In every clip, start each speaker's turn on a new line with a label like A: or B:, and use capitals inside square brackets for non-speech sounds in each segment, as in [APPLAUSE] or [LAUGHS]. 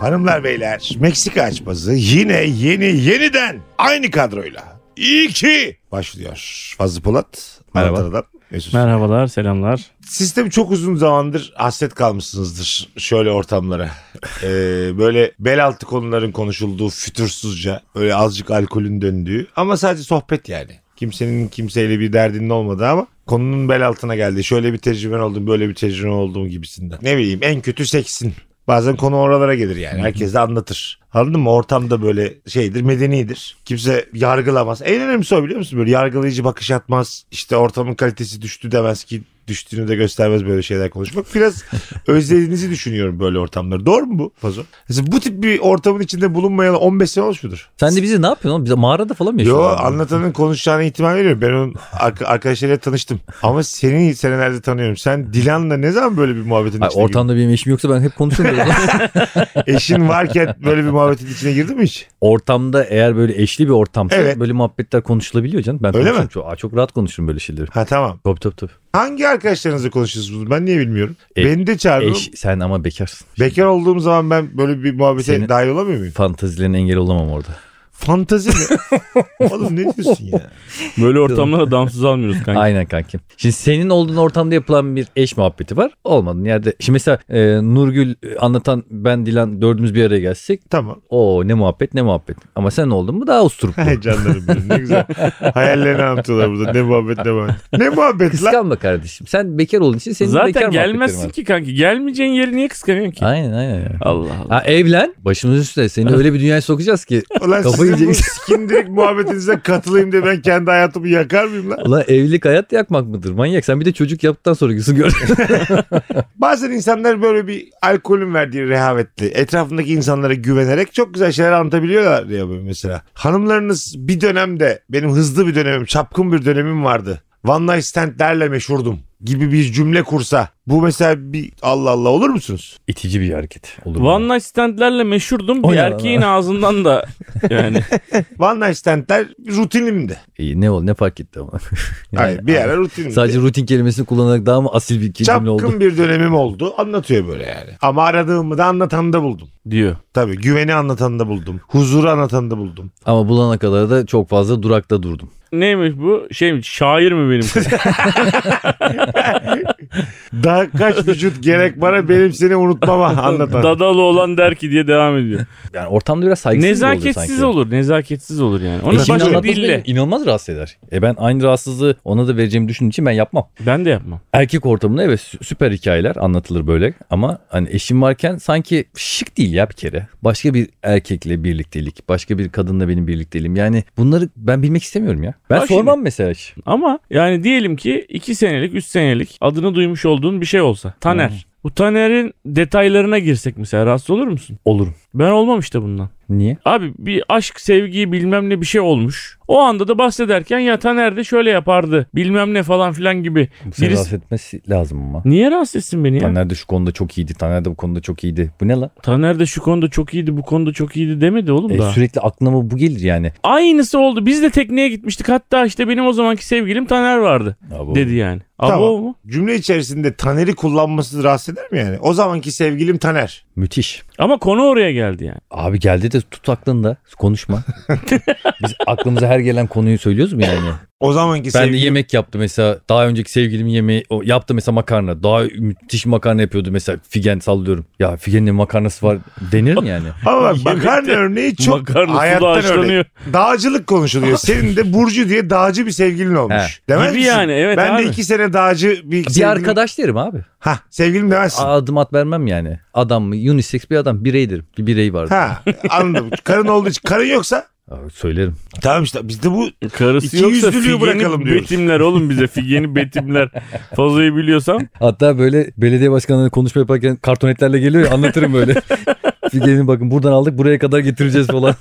A: Hanımlar beyler Meksika açması yine yeni yeniden aynı kadroyla. İyi ki başlıyor. Fazlı Polat.
B: Merhaba.
A: Ankara'dan Mesut.
C: Merhabalar, selamlar.
A: Sistem çok uzun zamandır hasret kalmışsınızdır şöyle ortamlara. Ee, böyle bel altı konuların konuşulduğu fütursuzca böyle azıcık alkolün döndüğü ama sadece sohbet yani. Kimsenin kimseyle bir derdinin olmadığı ama konunun bel altına geldi. Şöyle bir tecrüben oldum böyle bir tecrüben oldum gibisinden. Ne bileyim en kötü seksin. Bazen konu oralara gelir yani. Herkes de anlatır. Anladın mı? Ortamda böyle şeydir, medenidir. Kimse yargılamaz. En önemlisi o biliyor musun? Böyle yargılayıcı bakış atmaz. İşte ortamın kalitesi düştü demez ki düştüğünü de göstermez böyle şeyler konuşmak. Biraz özlediğinizi düşünüyorum böyle ortamları. Doğru mu bu Fazo? Mesela bu tip bir ortamın içinde bulunmayalı 15 sene olmuş mudur?
B: Sen de bizi ne yapıyorsun oğlum? Biz mağarada falan mı
A: Yo
B: yaşıyorsun?
A: anlatanın konuşacağına ihtimal veriyorum. Ben onun arka- arkadaşlarıyla tanıştım. Ama seni senelerde tanıyorum. Sen Dilan'la ne zaman böyle bir muhabbetin
B: Ay,
A: içine girdin?
B: ortamda benim eşim yoksa ben hep
A: [LAUGHS]
B: konuşurum. böyle.
A: Eşin varken böyle bir muhabbetin içine girdin mi hiç?
B: Ortamda eğer böyle eşli bir ortamsa
A: Evet.
B: böyle muhabbetler konuşulabiliyor canım. Ben
A: Öyle
B: konuşurum.
A: mi?
B: Çok, Aa, çok rahat konuşurum böyle şeyleri.
A: Ha tamam.
B: Top top top.
A: Hangi arkadaşlarınızla konuşuyorsunuz bunu? Ben niye bilmiyorum.
B: E-
A: Beni de çağırın.
B: Eş sen ama bekarsın.
A: Bekar olduğum zaman ben böyle bir muhabbete
B: Senin-
A: dahil olamıyor muyum?
B: Fantazilerine engel olamam orada.
A: Fantezi
B: [LAUGHS]
A: mi? Oğlum ne diyorsun ya?
C: Böyle ortamlara damsız almıyoruz kanka.
B: Aynen kankim. Şimdi senin olduğun ortamda yapılan bir eş muhabbeti var. Olmadığın yerde. Şimdi mesela e, Nurgül e, anlatan ben Dilan dördümüz bir araya gelsek.
A: Tamam. [LAUGHS]
B: O ne muhabbet ne muhabbet. Ama sen oldun mu daha usturup.
A: Heyecanlarım benim. Ne güzel. Hayallerini anlatıyorlar burada. Ne muhabbet ne muhabbet. Ne muhabbet lan?
B: Kıskanma kardeşim. Sen bekar olduğun için senin bekar
C: Zaten
B: muhabbetlerin
C: gelmezsin
B: var.
C: ki kanka. Gelmeyeceğin yeri niye kıskanıyorsun ki?
B: Aynen aynen. ya.
C: Allah Allah.
B: Ha, evlen. Başımız üstüne. Seni öyle bir dünyaya sokacağız [LAUGHS] ki.
A: Ulan
B: Kafayı
A: sizin bu
B: yiyeceksin.
A: sikindirik muhabbetinize katılayım diye ben kendi hayatımı yakar mıyım lan?
B: Ulan evlilik hayat yakmak mıdır? Manyak. Sen bir de çocuk yaptıktan sonra gözün gör.
A: Bazen insanlar böyle bir alkolün verdiği rehavetli etrafındaki insanlara güvenerek çok güzel şeyler anlatabiliyorlar ya böyle mesela. Hanımlarınız bir dönemde benim hızlı bir dönemim çapkın bir dönemim vardı. One night standlerle meşhurdum gibi bir cümle kursa bu mesela bir Allah Allah olur musunuz?
B: [LAUGHS] İtici bir hareket. Olur mu?
C: One night standlerle meşhurdum.
B: O
C: Bir
B: ne lan?
C: erkeğin ağzından
B: [LAUGHS]
C: da yani.
A: One night standler rutinimdi.
B: İyi, ne oldu ne fark etti ama. Yani
A: Hayır, bir ara rutinimdi.
B: Sadece rutin kelimesini kullanarak daha mı asil bir kelime
A: çapkın
B: oldu?
A: bir dönemim oldu anlatıyor böyle yani. Ama aradığımı da anlatanı da buldum.
C: diyor.
A: Tabii güveni anlatanı da buldum. Huzuru anlatanı da buldum.
B: Ama bulana kadar da çok fazla durakta durdum.
C: Neymiş bu? Şey mi? Şair mi
B: [LAUGHS]
C: benim kız?
B: Şey
A: Daha kaç vücut gerek bana benim seni
C: [LAUGHS]
A: unutmama anlatan.
C: Dadalı olan der ki diye devam ediyor.
B: Yani ortamda biraz saygısız da oluyor
C: Nezaketsiz
B: sanki.
C: olur. Nezaketsiz olur yani. Onu
A: Eşimle
C: başka
B: anlatmak
C: dille.
B: beni inanılmaz rahatsız eder. E ben aynı rahatsızlığı ona da vereceğimi düşündüğüm için ben yapmam.
C: Ben de yapmam.
B: Erkek ortamında evet sü- süper hikayeler anlatılır böyle ama hani eşim varken sanki şık değil ya bir kere. Başka bir erkekle birliktelik, başka bir kadınla benim birlikteliğim. Yani bunları ben bilmek istemiyorum ya. Ben
C: Bak
B: sormam mesela hiç.
C: Ama yani diyelim ki 2 senelik 3 senelik adını duymuş olduğun bir şey olsa. Taner.
B: Hmm.
C: Bu Taner'in detaylarına girsek mesela rahatsız olur musun?
B: Olurum.
C: Ben olmam işte bundan.
B: Niye?
C: Abi bir aşk sevgi bilmem ne bir şey olmuş. O anda da bahsederken ya Taner de şöyle yapardı bilmem ne falan filan gibi.
B: Seni
C: Birisi-
B: rahatsız etmesi lazım ama.
C: Niye rahatsız etsin beni ya? Taner.
B: Taner de şu konuda çok iyiydi. Taner de bu konuda çok iyiydi. Bu ne lan?
C: de şu konuda çok iyiydi bu konuda çok iyiydi demedi oğlum
B: E,
C: daha.
B: sürekli aklıma bu gelir yani.
C: Aynısı oldu biz de tekneye gitmiştik hatta işte benim o zamanki sevgilim Taner vardı
B: Ya bu-
C: dedi yani.
A: Tamam.
C: Abo mu?
A: Cümle içerisinde Taner'i kullanması rahatsız eder mi yani? O zamanki sevgilim Taner.
B: Müthiş.
C: Ama konu oraya geldi yani.
B: Abi geldi de tut aklında
C: [LAUGHS]
B: konuşma. Biz aklımıza her gelen konuyu söylüyoruz mu yani?
A: O zamanki
B: Ben de
A: sevgilim.
B: yemek yaptı mesela. Daha önceki sevgilimin yemeği o yaptı mesela makarna. Daha müthiş makarna yapıyordu mesela. Figen sallıyorum. Ya Figen'in makarnası var denir mi yani?
A: Ama
C: [LAUGHS]
A: bak makarna örneği çok
C: Makarna suda
A: hayattan örneği.
C: haşlanıyor.
A: Dağcılık
C: [LAUGHS]
A: konuşuluyor. Senin de Burcu diye dağcı bir sevgilin olmuş. Demez
C: Gibi
A: misin?
C: yani, evet
A: Ben de
C: abi.
A: iki sene dağcı bir,
B: [LAUGHS] Bir
A: sevgilim.
B: arkadaş derim abi.
A: Ha sevgilim demezsin.
B: Adım at vermem yani. Adam mı? Unisex bir adam. Bireydir. Bir birey var.
A: Ha
C: [LAUGHS]
A: anladım. Karın olduğu için. Karın yoksa
B: Abi Söylerim.
A: tamam işte bizde bu
C: Karısı
A: İki
C: yoksa
A: yüzlülüğü
C: figeni
A: bırakalım diyoruz.
C: betimler oğlum bize
A: [LAUGHS]
C: figeni betimler. Fazlayı biliyorsam
B: Hatta böyle belediye başkanları konuşma yaparken kartonetlerle geliyor ya anlatırım [LAUGHS] böyle. Figen'in bakın buradan aldık buraya kadar getireceğiz falan.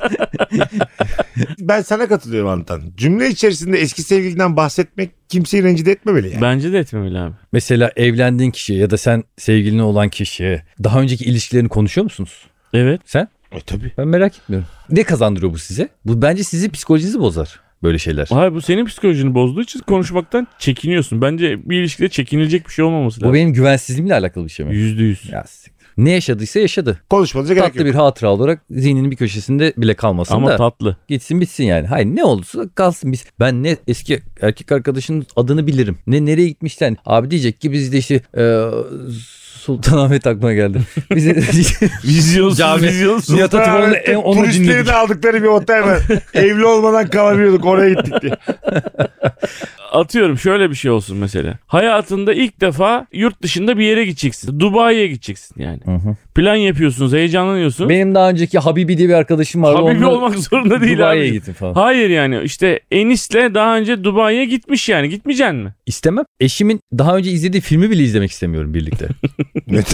A: ben sana katılıyorum Antan. Cümle içerisinde eski sevgilinden bahsetmek kimseyi rencide etmemeli yani.
C: Bence de etmemeli abi.
B: [LAUGHS] Mesela evlendiğin kişiye ya da sen sevgilin olan kişiye daha önceki ilişkilerini konuşuyor musunuz?
C: Evet.
B: Sen?
A: E tabii.
B: Ben merak etmiyorum. Ne kazandırıyor bu size? Bu bence sizi psikolojinizi bozar böyle şeyler.
C: Hayır bu senin psikolojini bozduğu için konuşmaktan çekiniyorsun. Bence bir ilişkide çekinilecek bir şey olmaması
B: Bu
C: lazım.
B: benim güvensizliğimle alakalı bir şey mi?
C: Yüzde yüz.
B: Ya siktir. Ne yaşadıysa yaşadı.
A: Konuşmanıza gerek
B: Tatlı
A: yok.
B: bir hatıra olarak zihninin bir köşesinde bile kalmasın
C: Ama
B: da [LAUGHS]
C: tatlı.
B: gitsin bitsin yani. Hayır ne olursa kalsın biz. Ben ne eski erkek arkadaşının adını bilirim. Ne nereye gitmişten. Abi diyecek ki biz de işte e, Sultanahmet aklıma [LAUGHS] geldi. Biz de-
C: Vizyonsuz
B: Cami-
C: vizyonsuz.
B: Nihat Atıboğlu'nun en- onu
A: Turistleri
B: dinledik.
A: de aldıkları bir otel
B: [LAUGHS]
A: var. Evli olmadan kalamıyorduk oraya gittik diye.
C: Atıyorum şöyle bir şey olsun mesela. Hayatında ilk defa yurt dışında bir yere gideceksin. Dubai'ye gideceksin yani.
B: Hı hı.
C: Plan yapıyorsunuz, heyecanlanıyorsun.
B: Benim daha önceki Habibi diye bir arkadaşım vardı.
C: Habibi
B: Onunla
C: olmak zorunda değil
B: Dubai'ye
C: abi.
B: gittim falan.
C: Hayır yani işte Enis'le daha önce Dubai'ye gitmiş yani. Gitmeyeceksin mi?
B: İstemem. Eşimin daha önce izlediği filmi bile izlemek istemiyorum birlikte.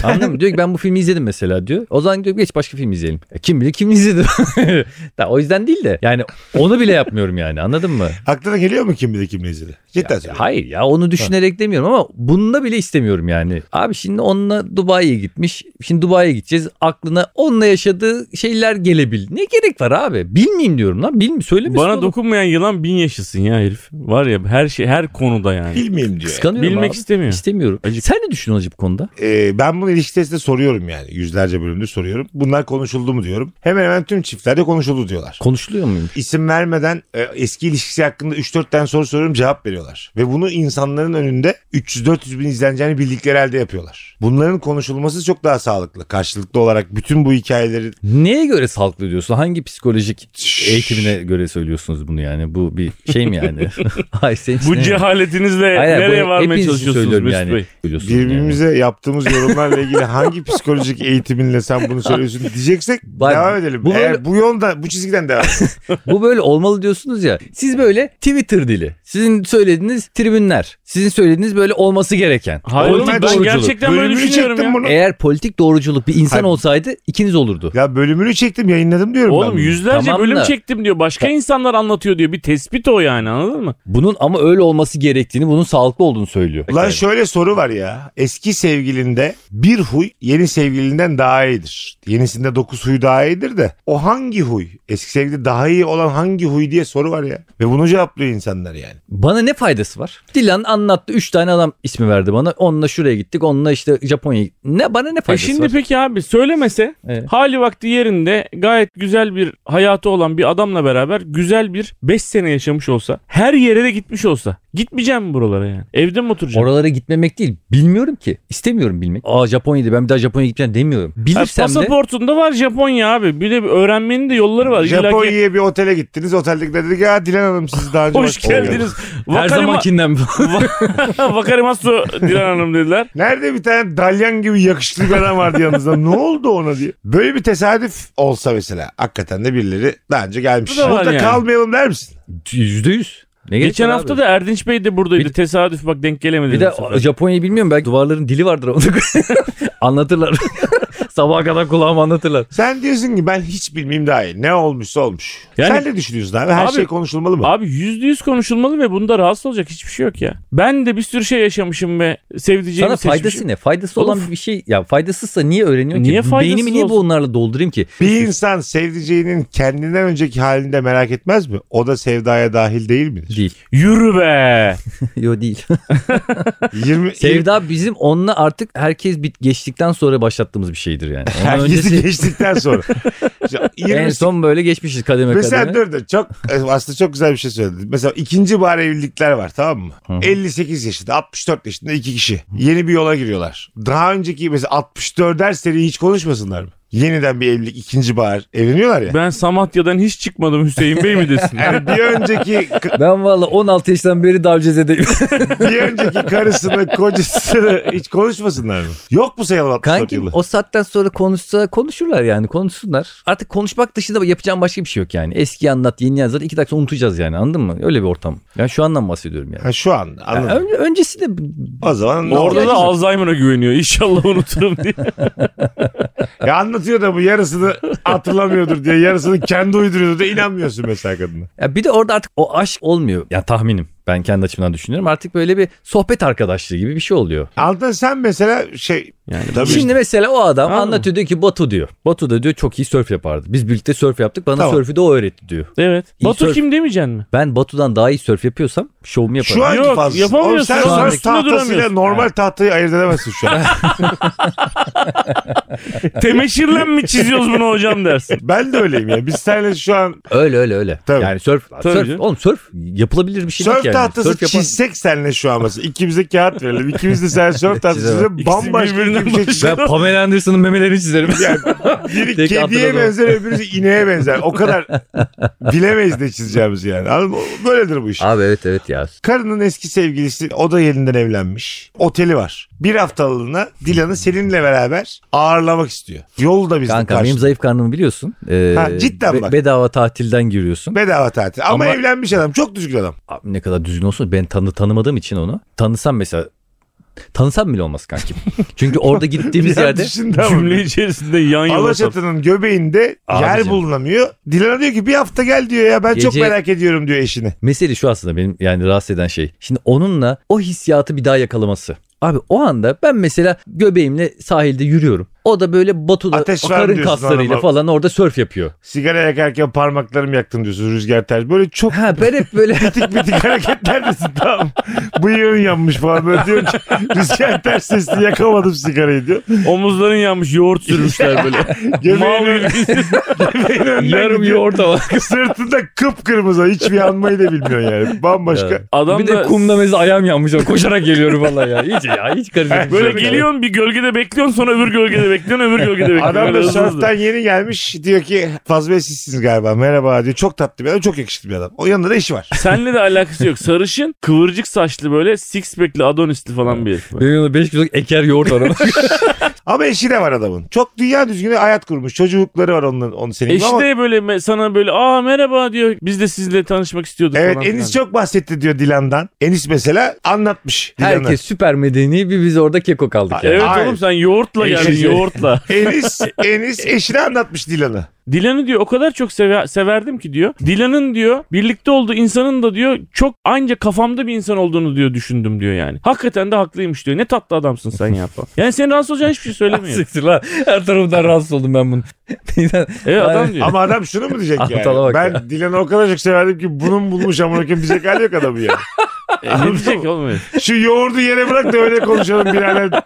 B: Anladın mı? Diyor ki ben bu filmi izledim mesela diyor. O zaman diyor geç başka film izleyelim. E, kim bilir kim izledi. [LAUGHS] Ta, o yüzden değil de yani onu bile yapmıyorum yani anladın mı?
A: Aklına geliyor mu kim bilir kim nezili? Cidden
B: Ya,
A: söylüyorum.
B: hayır ya onu düşünerek demiyorum ama bununla bile istemiyorum yani. Abi şimdi onunla Dubai'ye gitmiş. Şimdi Dubai'ye gideceğiz. Aklına onunla yaşadığı şeyler gelebilir. Ne gerek var abi? Bilmeyeyim diyorum lan. Bilmi söylemesin
C: Bana
B: oğlum.
C: dokunmayan yılan bin yaşasın ya herif. Var ya her şey her konuda yani.
A: Bilmeyeyim diyor.
B: Kıskanıyorum
C: Bilmek
B: abi.
C: istemiyor.
B: İstemiyorum. Sen ne düşünüyorsun acaba bu konuda?
A: Ee, ben bunu ilişkisinde soruyorum yani. Yüzlerce bölümde soruyorum. Bunlar konuşuldu mu diyorum. Hemen hemen tüm çiftlerde konuşuldu diyorlar.
B: Konuşuluyor muyum?
A: İsim vermeden e, eski ilişkisi hakkında 3-4 tane soru soruyorum cevap veriyorlar. Ve bunu insanların önünde 300-400 bin izleneceğini bildikleri halde yapıyorlar. Bunların konuşulması çok daha sağlıklı. Karşılıklı olarak bütün bu hikayeleri
B: Neye göre sağlıklı diyorsun? Hangi psikolojik eğitimine göre söylüyorsunuz bunu yani? Bu bir şey mi
C: [LAUGHS]
B: yani? Hayır senin için
C: Bu
B: ne?
C: cehaletinizle
B: Hayır, bu
C: nereye
B: hep- hepiniz
C: varmaya
B: için
C: çalışıyorsunuz
B: söylüyorum
C: Mesut
B: yani.
C: Bey?
B: Söylüyorsunuz yani.
A: birbirimize yaptığımız yorumlarla ilgili hangi psikolojik eğitiminle sen bunu söylüyorsun diyeceksek
B: Bak,
A: devam edelim.
B: bu
A: Bu,
B: böyle-
A: bu yolda bu çizgiden devam edelim.
B: Bu böyle olmalı diyorsunuz ya. Siz böyle Twitter dili. Sizin söylediğiniz tribünler. Sizin söylediğiniz böyle olması gereken.
C: Hayır oğlum,
A: Oğlum ben
C: [LAUGHS] ben
A: doğruculuk.
C: gerçekten böyle
A: Bölümünü
C: düşünüyorum
A: çektim
C: ya.
A: bunu.
B: Eğer politik doğruculuk bir insan
A: Hayır.
B: olsaydı ikiniz olurdu.
A: Ya bölümünü çektim yayınladım diyorum ben
C: Oğlum
A: bunu.
C: yüzlerce
B: Tamam
C: bölüm
B: da-
C: çektim diyor. Başka insanlar anlatıyor diyor. Bir tespit o yani anladın mı?
B: Bunun ama öyle olması gerektiğini, bunun sağlıklı olduğunu söylüyor.
A: Lan şöyle soru var ya. Eski sevgilinde bir huy yeni sevgilinden daha iyidir. Yenisinde dokuz huy daha iyidir de. O hangi huy? Eski sevgilide daha iyi olan hangi huy diye soru var ya. Ve bunu cevaplıyor insanlar yani.
B: Bana ne faydası var? Dilan anlattı. Üç tane adam ismi verdi bana. Onunla şuraya gittik. Onunla işte Japonya'ya gittik. Ne, bana ne
C: E
B: faydası
C: şimdi
B: var?
C: peki abi söylemese
B: Evet.
C: hali vakti yerinde gayet güzel bir hayatı olan bir adamla beraber güzel bir 5 sene yaşamış olsa her yere de gitmiş olsa gitmeyeceğim mi buralara yani? Evde mi oturacağım?
B: Oralara gitmemek değil. Bilmiyorum ki. İstemiyorum bilmek. Aa Japonya'da ben bir daha Japonya'ya gitmeyeceğim demiyorum.
C: Ha,
B: Bilirsem de
C: pasaportunda var Japonya abi. Bir de bir öğrenmenin de yolları var. İlla ki-
A: Japonya'ya bir otele gittiniz. Oteldekiler dedi ki ya Dilan Hanım siz daha önce...
C: Hoş
A: bak-
C: geldiniz. [LAUGHS]
B: her
C: Vakarima,
B: zamankinden [LAUGHS]
C: [LAUGHS] Vakarimasu Dilan Hanım dediler.
A: Nerede bir tane dalyan gibi yakışıklı bir adam vardı yanınızda. ne oldu ona diye. Böyle bir tesadüf olsa mesela. Hakikaten de birileri daha önce gelmiş.
C: Bu da var
A: Burada
C: yani.
A: kalmayalım der misin?
B: %100. Ne gerek
C: Geçen
B: var
C: hafta
B: abi?
C: da Erdinç Bey de buradaydı.
B: Bir-
C: Tesadüf bak denk gelemedi.
B: bir de Japonya'yı bilmiyorum belki duvarların dili vardır onu [LAUGHS]
C: [LAUGHS]
B: anlatırlar. Sabaha kadar kulağıma anlatırlar.
A: Sen diyorsun ki ben hiç bilmeyeyim daha iyi. Ne olmuşsa olmuş.
C: Yani-
A: Sen ne düşünüyorsun abi? Her
C: Abi-
A: şey konuşulmalı mı?
C: Abi yüzde yüz konuşulmalı ve bunda rahatsız olacak hiçbir şey yok ya. Ben de bir sürü şey yaşamışım ve sevdiceğimi
B: Sana faydası
C: seçmişim.
B: ne? Faydası
C: Oğlum-
B: olan bir şey ya faydasızsa niye öğreniyorsun
C: Niye
B: ki?
C: faydasız
B: Beynimi niye
C: olsun?
B: bunlarla doldurayım ki?
A: Bir insan sevdiceğinin kendinden önceki halini de merak etmez mi? O da sevdaya dahil değil
C: [LAUGHS]
A: midir?
B: Değil.
C: Yürü be.
B: Yo değil.
A: 20
B: Sevda bizim onunla artık herkes bit geçtikten sonra başlattığımız bir şeydir yani. Ondan
A: Herkesi
C: [LAUGHS]
B: öncesi-
A: geçtikten sonra. Ya,
B: en
A: 20
B: son böyle geçmişiz kademe
A: Mesela
B: kademe.
A: dur dur çok e, aslında çok güzel bir şey söyledin. Mesela ikinci bahar evlilikler var tamam mı? 58 yaşında 64 yaşında iki kişi. Yeni bir yola giriyorlar. Daha önceki mesela 64'er seri hiç konuşmasınlar mı? Yeniden bir evlilik ikinci bahar evleniyorlar ya.
C: Ben Samatya'dan hiç çıkmadım Hüseyin Bey mi desin?
A: Yani bir önceki
B: Ben valla 16 yaşından beri Davceze'deyim.
A: bir önceki karısını kocasını hiç konuşmasınlar mı? Yok bu sayalım 64
B: Kanki
A: yılı.
B: o saatten sonra konuşsa konuşurlar yani konuşsunlar. Artık konuşmak dışında yapacağım başka bir şey yok yani. Eski anlat yeni anlat iki dakika unutacağız yani anladın mı? Öyle bir ortam. Yani şu andan bahsediyorum yani.
A: Ha, şu an anladım.
B: yani ön- öncesi de
A: o zaman ne
C: Orada
A: olacak?
C: da Alzheimer'a güveniyor. İnşallah unuturum diye.
A: ya anlatıyor da bu yarısını hatırlamıyordur diye yarısını kendi uyduruyordur da inanmıyorsun mesela kadına.
B: ya bir de orada artık o aşk olmuyor. Ya tahminim. Ben kendi açımdan düşünüyorum. Artık böyle bir sohbet arkadaşlığı gibi bir şey oluyor.
A: Aldın sen mesela şey
C: Yani
A: tabii
B: Şimdi mesela o adam
C: Anladım.
B: anlatıyor diyor ki Batu diyor. Batu da diyor çok iyi sörf yapardı. Biz birlikte sörf yaptık. Bana
A: Tamam.
B: sörfü de o öğretti diyor.
C: Evet.
B: İyi
C: Batu
B: sörf-
C: kim demeyeceksin
B: [LAUGHS]
C: mi?
B: Ben Batu'dan daha iyi sörf yapıyorsam şovumu yaparım.
A: şu anki
C: Yok,
A: fazlası.
C: yapamıyorsun.
A: Oğlum sen
B: Şu
A: sörf
B: andaki-
A: tahtasıyla
C: duramıyorsun.
A: normal tahtayı ayırt edemezsin şu
B: [LAUGHS]
A: an.
C: Temeşirle mi çiziyoruz bunu
A: [LAUGHS]
C: hocam dersin.
A: ben de öyleyim ya. Biz seninle şu an
B: Öyle öyle öyle.
A: Tabii.
B: Yani sörf,
C: Tabii
B: sörf
C: canım.
B: oğlum sörf yapılabilir bir şey
A: sörf
B: değil ki yani.
A: tahtası
B: Sörf yapan-
A: çizsek seninle şu an mesela. İkimize kağıt verelim. İkimiz de
B: [LAUGHS]
A: sen sörf
B: Çizemem.
A: tahtasıyla
C: İkisi
A: bambaşka
C: birbirinden
A: bir şey
C: başka.
A: çizsek.
B: [LAUGHS] Ben Pamela Anderson'ın memelerini
C: [LAUGHS]
B: çizerim. [LAUGHS]
A: Biri
B: Tek
A: kediye
B: hatırladım.
A: benzer öbürü ineğe benzer. O
B: [LAUGHS]
A: kadar bilemeyiz ne çizeceğimizi yani. Anladın mı? Böyledir bu iş.
B: Abi evet evet ya.
A: Karının eski sevgilisi o da yerinden evlenmiş. Oteli var. Bir haftalığına Dilan'ı seninle beraber ağırlamak istiyor. Yolu da bizim
B: Kanka benim
A: karşı.
B: zayıf karnımı biliyorsun. Ee,
A: Ha, cidden bak.
B: Bedava tatilden giriyorsun.
A: Bedava tatil. Ama,
B: Ama-
A: evlenmiş adam. Çok düzgün adam.
B: Abi ne kadar düzgün olsun ben tanı tanımadığım için onu. Tanısam mesela tanısam bile
A: [LAUGHS]
B: olmaz kankim. Çünkü orada gittiğimiz
A: Ya
B: yerde
A: düşündü ama.
C: Cümle içerisinde yan yana sap.
A: Alaçatı'nın göbeğinde yer
B: Abicim.
A: bulunamıyor. Dilan'a diyor ki bir hafta gel diyor ya ben çok
B: Gece-
A: merak ediyorum diyor eşini.
B: mesele şu aslında benim yani rahatsız eden şey. Şimdi onunla o hissiyatı bir daha yakalaması. Abi o anda ben mesela göbeğimle sahilde yürüyorum. O da böyle Batu'da
A: Ateş var mı
B: karın
A: diyorsun
B: kaslarıyla
A: hanıma?
B: falan orada sörf yapıyor.
A: Sigara yakarken parmaklarımı yaktım diyorsun rüzgar ters. Böyle çok
B: Ha ben
A: [LAUGHS]
B: hep böyle
A: bitik
B: [LAUGHS]
A: bitik hareketlerdesin tamam. Bıyığın yanmış falan böyle diyor ki rüzgar ters sesli yakamadım sigarayı diyor.
C: Omuzların yanmış yoğurt
B: [LAUGHS]
C: sürmüşler böyle. Mal
A: Göbeğin, ön-
C: gibi.
A: göbeğin önünden
B: yarım
A: gidiyor.
B: yoğurda var.
A: Sırtında kıpkırmızı hiçbir yanmayı da bilmiyor yani. Bambaşka.
B: Evet.
C: Adam
B: bir
C: da
B: de kumda mesela ayağım yanmış. Koşarak geliyorum vallahi ya. İyice ya. Hiç
A: Eh,
B: şey karışmıyor.
C: Böyle geliyorsun bir gölgede bekliyorsun sonra öbür gölgede bekliyorsun öbür gölgede bekliyorsun.
A: Adam da
C: Böyle hızlı.
A: sörften yeni gelmiş diyor ki Fazıl Bey sizsiniz galiba merhaba diyor. Çok tatlı bir adam çok yakışıklı bir adam. O yanında da işi var.
C: Seninle de alakası yok. Sarışın, kıvırcık saçlı böyle six pack'li adonisli falan bir herif.
B: Benim yanımda 5 kiloluk eker
A: [LAUGHS]
B: yoğurt var.
A: Ama eşi de var adamın. Çok dünya düzgünü hayat kurmuş. Çocukları var onun, onun senin. gibi
C: Eşi
A: ama...
C: de böyle me- sana böyle aa merhaba diyor. Biz de sizinle tanışmak istiyorduk
A: Evet
C: falan.
A: Enis
C: filan.
A: çok bahsetti diyor Dilan'dan. Enis mesela anlatmış Dilan'a.
B: Herkes süper medeni bir biz orada keko kaldık yani.
C: Evet
A: Ay.
C: oğlum sen yoğurtla
A: Eşi- şey-
C: geldin yoğurtla.
A: [LAUGHS] Enis, Enis eşine anlatmış Dilan'ı.
C: Dilan'ı diyor o kadar çok seve- severdim ki diyor. Dilan'ın diyor birlikte olduğu insanın da diyor çok anca kafamda bir insan olduğunu diyor düşündüm diyor yani. Hakikaten de haklıymış diyor. Ne tatlı adamsın sen ya falan. Yani senin rahatsız olacağın hiçbir şey
B: [LAUGHS]
C: söylemiyor.
B: Siktir lan. Her tarafından rahatsız oldum ben [LAUGHS] bunu.
C: evet adam diyor.
A: Ama adam şunu mu diyecek
B: Aptala
A: yani?
B: bak
A: Ben Dilan'ı o kadar çok severdim ki bunun bulmuş amına koyayım bize hali yok adamı ya.
C: E, ne diyecek oğlum? herif?
A: Şu yoğurdu yere bırak da öyle konuşalım birader.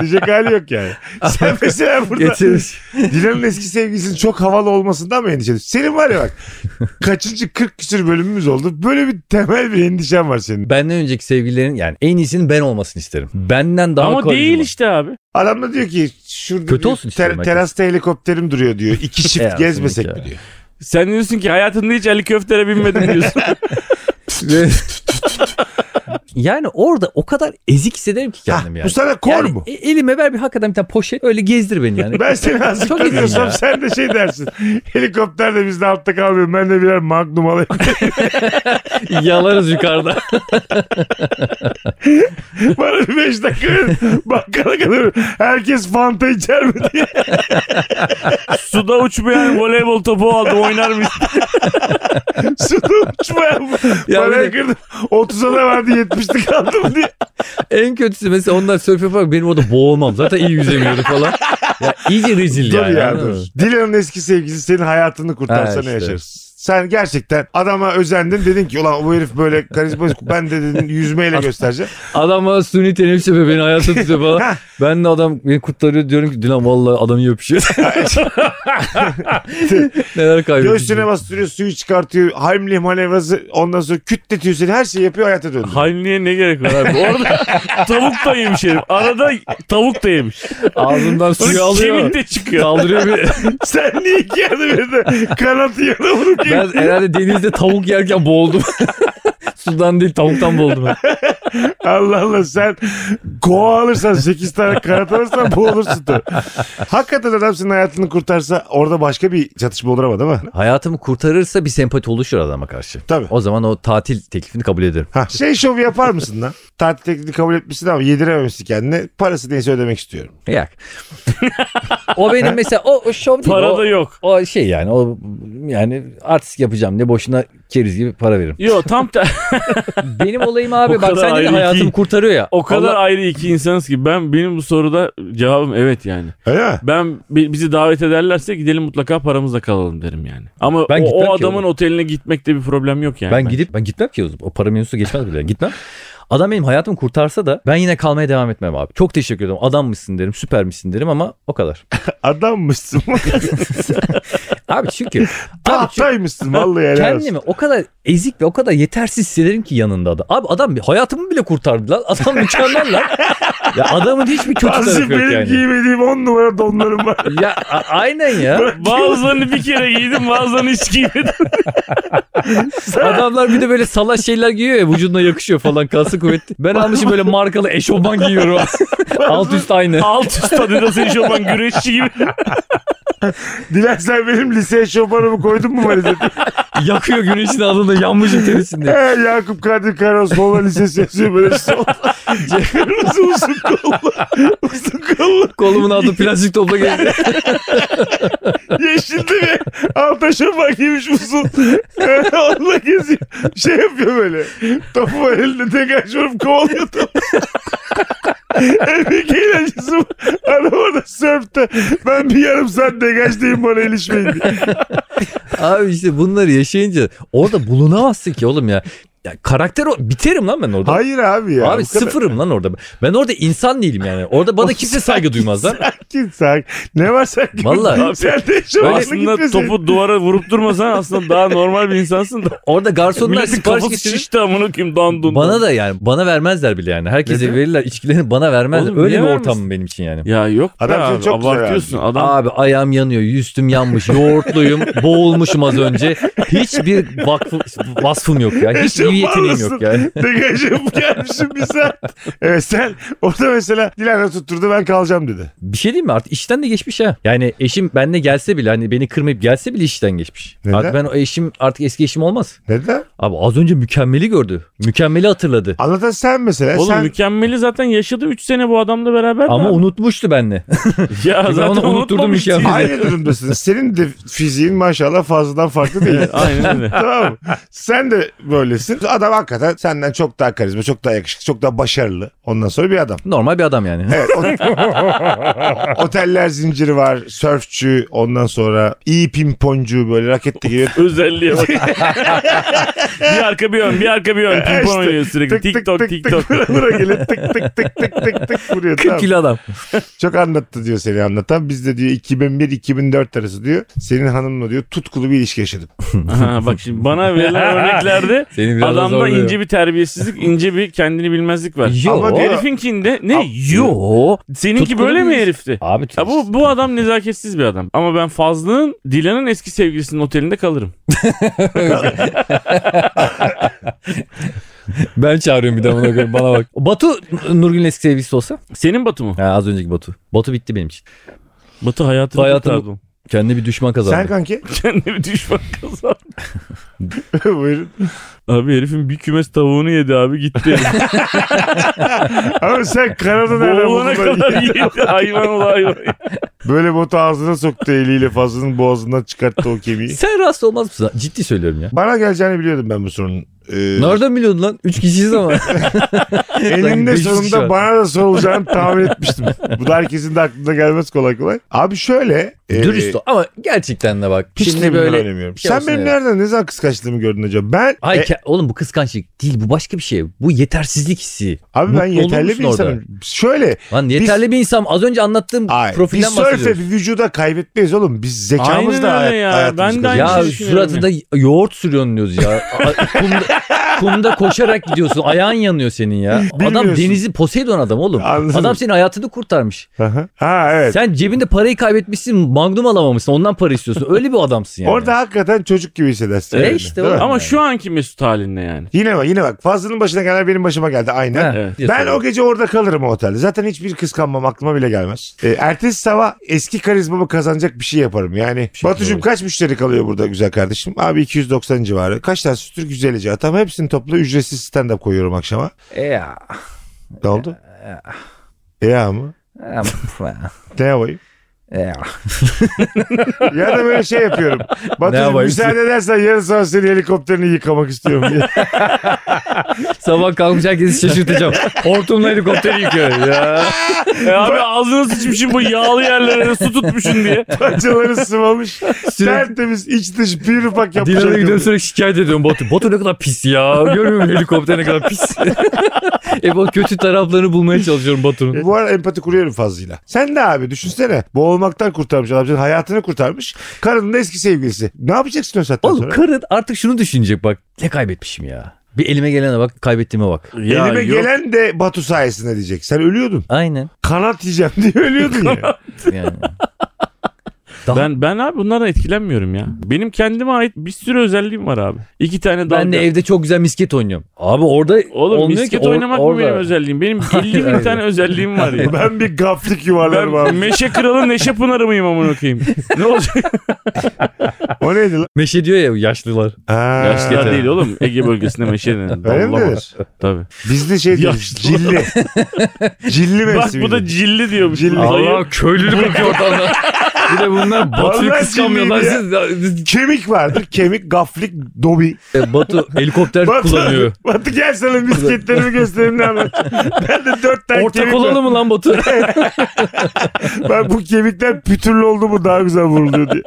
A: Diyecek hali yok yani. Sen mesela burada
B: Getirmiş.
A: Dilan'ın eski sevgilisinin çok havalı olmasından mı endişelisin? Senin var ya
B: [LAUGHS]
A: bak kaçıncı 40 küsür bölümümüz oldu. Böyle bir temel bir endişen var senin.
B: Benden önceki sevgililerin yani en iyisinin ben olmasını isterim. Benden daha
C: Ama
B: karizma.
C: değil
B: [LAUGHS]
C: işte abi.
A: Adam da diyor ki şurada
B: Kötü
A: diyor,
B: olsun istiyorum herkes.
A: terasta helikopterim duruyor diyor.
B: [LAUGHS]
A: İki
B: Ya,
A: çift gezmesek
B: kesinlikle.
A: mi diyor.
C: Sen diyorsun ki hayatında hiç Ali Köfter'e binmedim
B: [LAUGHS]
C: diyorsun.
B: yani orada o kadar ezik hissederim ki
A: Ha,
B: kendimi yani.
A: Bu sana kor
B: yani [LAUGHS]
A: mu?
B: e- Elime ver bir hakikaten bir tane poşet öyle gezdir
C: [LAUGHS]
B: beni yani.
A: Ben seni
B: Çok iyi
A: azıcık
B: ya.
A: sen de şey dersin. Helikopter de bizde altta kalmıyor. Ben de birer magnum
B: [LAUGHS]
A: alayım.
B: Yalarız yukarıda.
A: Bana bir beş dakika verin. bakkala kadar herkes fanta içer mi diye. [LAUGHS]
C: Suda uçmayan voleybol topu aldım oynar mısın?
A: Suda uçmayan
B: Ya bir
A: parayı
B: de-
A: kırdım. 30'a da vardı 70'lik kaldım diye.
B: [LAUGHS] En kötüsü mesela onlar sörf yaparak benim orada boğulmam. Zaten iyi yüzemiyordu falan. Ya iyice rezil
A: Dur
B: yani.
A: ya
B: anladın
A: dur.
B: mı?
A: Dilan'ın eski sevgilisi senin hayatını kurtarsa
B: Ha,
A: ne
B: işte.
A: yaşarız? Sen gerçekten adama özendin dedin ki ulan bu herif böyle [LAUGHS] karizma ben de dedim yüzmeyle göstereceğim.
B: Adam bana suni teneffüs yapıyor beni hayata tutuyor falan. ben de adam beni kurtarıyor diyorum ki Dilan vallahi
A: [LAUGHS]
B: adamı öpüşüyor. [LAUGHS] Neler kaybettin.
A: Göğsüne bastırıyor suyu çıkartıyor. Heimlich manevrası ondan sonra kütletiyor seni her şeyi yapıyor hayata döndü.
C: Hainliğe ne gerek var abi? Orada tavuk da yemiş herif. Arada tavuk da yemiş.
B: Ağzından suyu
C: Sonra
B: alıyor.
C: kemik de çıkıyor.
B: Kaldırıyor bir.
A: [LAUGHS] Sen niye iki yerde bir de kanatı yana vurup
C: [LAUGHS]
B: Ben herhalde denizde tavuk yerken boğuldum. [LAUGHS] Sudan değil tavuktan boğuldum. ben.
A: Allah Allah sen koa alırsan 8 tane kanat alırsan boğulursun [LAUGHS] da. Hakikaten adam senin hayatını kurtarsa orada başka bir çatışma olur ama değil mi?
B: Hayatımı kurtarırsa bir sempati oluşur adama karşı.
A: Tabii.
B: O zaman o tatil teklifini kabul ederim.
A: Ha, şey şovu yapar mısın lan? [LAUGHS] tatil teklifini kabul etmişsin ama yedirememişsin kendine. Parası neyse ödemek istiyorum.
B: Yak. [LAUGHS] o benim mesela o, o şov değil.
C: Para
B: o,
C: da yok.
B: o şey yani o yani artist yapacağım diye boşuna keriz gibi para veririm.
C: Yo tam ter-
B: Benim olayım abi
C: O
B: bak
C: kadar
B: sen dedin
C: ayrı
B: hayatımı
C: iki-
B: kurtarıyor ya.
C: o kadar
B: Allah-
C: ayrı iki insanız ki ben benim bu soruda cevabım evet yani.
A: Öyle mi?
C: Ben bi- bizi davet ederlerse gidelim mutlaka paramızla kalalım derim yani. Ama
B: Ben
C: o,
B: gitmem
C: o
B: ki
C: adamın
B: oğlum.
C: oteline gitmekte bir problem yok yani.
B: ben
C: bence.
B: gidip ben gitmem ki o, o para mevzusu geçmez bile gitmem. Adam benim hayatımı kurtarsa da ben yine kalmaya devam etmem abi. Çok teşekkür ederim. Adam mısın derim, süper misin derim ama o kadar. [LAUGHS]
A: Adam [LAUGHS] mısın?
B: Abi
A: [LAUGHS]
B: çünkü abi çünkü
A: Tahtaymışsın vallahi helal olsun.
B: kendimi o kadar ezik ve o kadar yetersiz hissederim ki yanında adam. Abi adam hayatımı bile kurtardı lan. Adam
A: [LAUGHS]
B: mükemmel lan. ya adamın hiçbir kötü
A: Bazı
B: tarafı yok
A: benim
B: yani.
A: giymediğim 10 numara donlarım [LAUGHS] var.
B: Ya a- aynen ya.
C: Bazılarını bir kere giydim bazılarını hiç giymedim.
B: Adamlar bir de böyle salaş şeyler giyiyor ya vücuduna yakışıyor falan kalsı kuvvetli. Ben almışım böyle markalı
A: [LAUGHS]
B: eşofman giyiyorum. Alt üst aynı.
C: Alt üst Adidas eşofman güreşçi gibi.
A: Dilersen benim liseye şoförümü koydun mu
B: [LAUGHS]
A: valizete?
B: Yakıyor güneşin altında yanmışım terisinde.
A: He, Yakup Kadir Karos Mola Lisesi yazıyor böyle [LAUGHS] sol. Kırmızı uzun kollu. Uzun kollu.
B: Kolumun altı plastik topla geldi.
A: Yeşildi mi? Alta şafak giymiş uzun. [LAUGHS] Onunla geziyor. Şey yapıyor böyle. Topu var elinde tekrar şurup kovalıyor topu. [LAUGHS] en büyük eğlencesi bu. Adam orada sörfte. Ben bir yarım saat degajdayım bana ilişmeyin diye.
B: Abi işte bunları yaşayınca orada bulunamazsın ki oğlum ya. ya karakter o biterim lan ben orada.
A: Hayır abi ya.
B: Abi
A: Bu kadar-
B: sıfırım lan orada. Ben orada insan değilim yani. Orada bana kimse saygı duymaz lan.
A: Sakin sakin. Ne var sakin?
B: Vallahi.
A: Sen de şoförle
C: aslında
A: gitmeseydin.
C: topu duvara vurup durmasan aslında daha normal bir insansın da.
B: Orada garsonlar
C: Milletin
B: sipariş
C: kafası
B: getirir.
C: şişti amına kim dandun.
B: Bana da yani bana vermezler bile yani. Herkese
C: Neden?
B: verirler içkilerini bana vermezler.
C: Oğlum
B: Öyle
C: niye
B: bir
C: vermesin?
B: ortam benim için yani.
C: Ya yok be
A: Adam seni
C: abi,
A: çok güzel
C: abartıyorsun. Adam
B: Abi ayağım yanıyor, üstüm yanmış, [LAUGHS] yoğurtluyum, boğulmuşum az önce. Hiçbir vakfı, vasfım yok ya. Hiç
A: Yaşam
B: iyi yeteneğim
A: varlısın.
B: yok yani.
A: Degajım gelmişim bir saat. Evet sen orada mesela Dilara tutturdu ben kalacağım dedi.
B: Bir şey diyeyim mi artık işten de geçmiş ha. Yani eşim benle gelse bile hani beni kırmayıp gelse bile işten geçmiş.
A: Neden?
B: Artık ben o eşim artık eski eşim olmaz.
A: Neden?
B: Abi az önce mükemmeli gördü. Mükemmeli hatırladı.
A: Anlatan sen mesela.
C: Oğlum
A: E sen...
C: mükemmeli zaten yaşadı 3 sene bu adamla beraber. de
B: Ama
C: abi.
B: unutmuştu benle.
C: [LAUGHS] ya zaten
B: Ben onu şey unutturdum
C: unutmamış
B: mükemmeli.
C: değil.
A: Aynı durumdasın. Senin de fiziğin maşallah fazladan farklı değil.
C: Evet, [LAUGHS] Aynen
A: [LAUGHS]
C: öyle.
A: tamam mı? Sen de böylesin. Adam hakikaten senden çok daha karizma, çok daha yakışıklı, çok daha başarılı. Ondan sonra bir [LAUGHS] adam.
B: [LAUGHS] Normal bir adam yani. [LAUGHS]
A: Evet, o- Oteller zinciri var, sörfçü, ondan sonra iyi pimponcu böyle raketli [LAUGHS] gibi
C: Özelliğe bak. [LAUGHS] bir arka bir ön, bir arka bir
A: [LAUGHS]
C: ön. Pimpon
A: İşte
C: oynuyor sürekli. TikTok, TikTok.
A: Tık, buraya gelip tık tık tık tık tık tık vuruyor.
B: 40
A: Tamam.
B: kilo adam.
A: Çok anlattı diyor seni anlatan. Biz de diyor 2001-2004 arası diyor. Senin hanımla diyor tutkulu bir ilişki yaşadım.
C: [LAUGHS] Ha, bak şimdi bana
B: [LAUGHS]
C: verilen örneklerde
B: Seni biraz da
C: adamda
B: zorluyor.
C: ince bir terbiyesizlik, ince bir kendini bilmezlik var.
B: Yo.
A: Ama diyor-
C: Herifinkinde ne? Yo.
B: Yo.
C: Seninki
B: Tutkulu
C: böyle mi
B: muyuz?
C: herifti?
B: Abi
C: Ya bu, bu adam nezaketsiz bir adam. Ama ben Fazlı'nın Dilan'ın eski sevgilisinin otelinde kalırım.
B: ben çağırıyorum bir de buna göre bana bak. [LAUGHS] Batu Nurgül'ün eski sevgilisi olsa.
C: Senin Batu mu?
B: Ha, az önceki Batu. Batu bitti benim için.
C: Batı hayatını
B: Hayatını-
C: kurtardı.
B: [LAUGHS] Kendi bir düşman kazandı.
A: Sen kanki [LAUGHS]
C: Kendimi düşman kazandı.
A: buyurun.
C: Abi herifin bir kümes tavuğunu yedi abi
B: [LAUGHS]
C: gitti.
A: Ama sen Kanada nereden
C: Boğulana
A: buldun?
C: kadar yedi [LAUGHS] hayvan ola hayvan.
A: Böyle botu ağzına soktu eliyle fazlının boğazından çıkarttı o kemiği.
B: Sen rahatsız olmaz mısın? Ciddi söylüyorum ya.
A: Bana geleceğini biliyordum ben bu sorunun. Ee,
B: Nereden biliyordun lan? Üç
A: [LAUGHS]
B: kişiyiz ama.
A: Eninde
B: Beş kişi
A: sonunda
B: var.
A: bana da sorulacağını tahmin etmiştim. Bu da herkesin de aklına gelmez kolay kolay. Abi şöyle. e,
B: Dürüst ol. Ama gerçekten de bak.
A: Hiç
B: şimdi
A: de
B: böyle...
A: önemliyorum.
B: şey
A: Sen
B: olsun
A: benim
B: yani.
A: nereden ne zaman kıskançlığımı gördün acaba? Ben
B: Ay
A: e,
B: ke- oğlum bu kıskançlık değil bu başka bir şey. Bu yetersizlik hissi.
A: abi ben
B: mutlu olur
A: yeterli
B: musun
A: bir insanım. Şöyle
B: Lan yeterli bir insan az önce anlattığım
A: ay, bir
B: profilden
A: sörfe
B: bahsediyorum.
A: bir vücuda kaybetmeyiz oğlum. Biz zekamızla
C: Aynen
A: hayat,
C: öyle ya.
A: hayatımızı
C: Ben de aynı
A: kazanıyoruz.
B: Ya
C: şey düşünüyorum
B: suratında yoğurt sürüyorsun diyoruz
A: [LAUGHS]
B: ya. A- kumda, kumda koşarak gidiyorsun. Ayağın yanıyor senin ya. Adam
A: Bilmiyorsun.
B: denizi Poseidon adam oğlum.
A: Anladım.
B: Adam senin hayatını kurtarmış.
A: Aha. ha evet.
B: Sen cebinde parayı kaybetmişsin, magnum alamamışsın. Ondan para istiyorsun. Öyle bir adamsın yani.
A: Orada hakikaten çocuk gibi hissedersin.
B: E
A: kendini,
B: işte
A: değil
B: oğlum.
A: mi?
C: Ama
B: Yani.
C: şu anki Mesut halinde yani.
A: Yine bak yine bak. Fazlının başına gelen benim başıma geldi aynen.
B: Ha,
C: Evet.
B: diye
A: Ben o
B: soruyorum.
A: gece orada kalırım o otelde. Zaten hiçbir kıskanmam aklıma bile gelmez. E, ertesi sabah eski karizmamı kazanacak bir şey yaparım. Yani
B: şey
A: Batucuğum
B: yapalım.
A: kaç müşteri kalıyor burada güzel kardeşim? Abi 290 civarı. Kaç tane sütür 150 civarı. Tamam hepsini topla ücretsiz stand-up koyuyorum akşama.
B: Ya.
A: Ne oldu? Ya mı? Ne yapayım?
B: Ya.
A: Ya da böyle şey yapıyorum. Batu
B: yapayım?
A: müsaade edersen yarın sonra seni helikopterini yıkamak istiyorum diye.
B: Sabah kalkmış herkesi şaşırtacağım. Hortumla helikopteri yıkıyor. Ya.
C: E abi ağzına sıçmışım bu yağlı yerlere su tutmuşsun diye.
A: Parçaları sıvamış.
B: Sürekli-
A: Tertemiz iç dış bir ufak
C: şey
A: yapmış.
B: Dilan'a gidiyorum
A: helikopter.
B: sürekli şikayet ediyorum Batu. Batu ne kadar pis ya. Görmüyor musun helikopter ne kadar pis. [LAUGHS] e bu kötü taraflarını bulmaya çalışıyorum Batu'nun.
A: Bu arada empati kuruyorum fazlıyla. Sen de abi düşünsene. Boğulmaktan kurtarmış adam. Senin hayatını kurtarmış. Karının da eski sevgilisi. Ne yapacaksın o saatten
B: Oğlum
A: sonra?
B: karın artık şunu düşünecek bak. Ne kaybetmişim ya. Bir elime gelene bak kaybettiğime bak.
C: [LAUGHS] Ya
A: Elime
C: yok.
A: gelen de Batu sayesinde diyecek. Sen ölüyordun.
B: Aynen.
A: Kanat yiyeceğim diye ölüyordun ya.
C: [LAUGHS]
B: Yani.
C: Ben ben abi bunlardan etkilenmiyorum ya. Benim kendime ait bir sürü özelliğim var abi. İki tane dalga.
B: Ben de evde çok güzel misket oynuyorum. Abi orada
C: Oğlum
B: olmuyor
C: misket
B: ki, or-
C: oynamak mı
B: orada.
C: benim özelliğim?
B: [LAUGHS]
C: Benim 50 bin
B: Hayır.
C: tane özelliğim var ya.
A: ben bir gaflık yuvarlarım
C: Ben
A: abi.
C: Meşe Kralı Neşe Pınarı mıyım amına
A: [LAUGHS]
C: koyayım? Ne olacak?
A: O neydi lan?
B: Meşe diyor ya yaşlılar.
A: Ha.
C: Yaşlılar değil oğlum. Ege bölgesinde meşe denir.
A: Öyle mi
C: Dallama.
A: denir?
C: Tabii.
A: Bizde şey diyoruz.
C: Yaşlı. [LAUGHS]
A: Cilli. cilli
C: Bak
A: mevsimi.
C: bu da cilli diyormuş.
A: Cilli.
C: Dayı-
B: Allah köylülük bakıyor ortadan. Bir de bunlar Batu'yu
A: Vallahi
B: kıskanmıyorlar. Siz-
A: Kemik vardır. Kemik, gaflik, dobi.
B: E, Batu helikopter kullanıyor.
A: Batu gel sana misketlerimi göstereyim ne anlatayım. Ben de dört tane
B: Ortak
A: kemik var.
B: olalım mı lan Batu?
A: Ben bu kemikten pütürlü oldu mu daha güzel vuruluyor diye.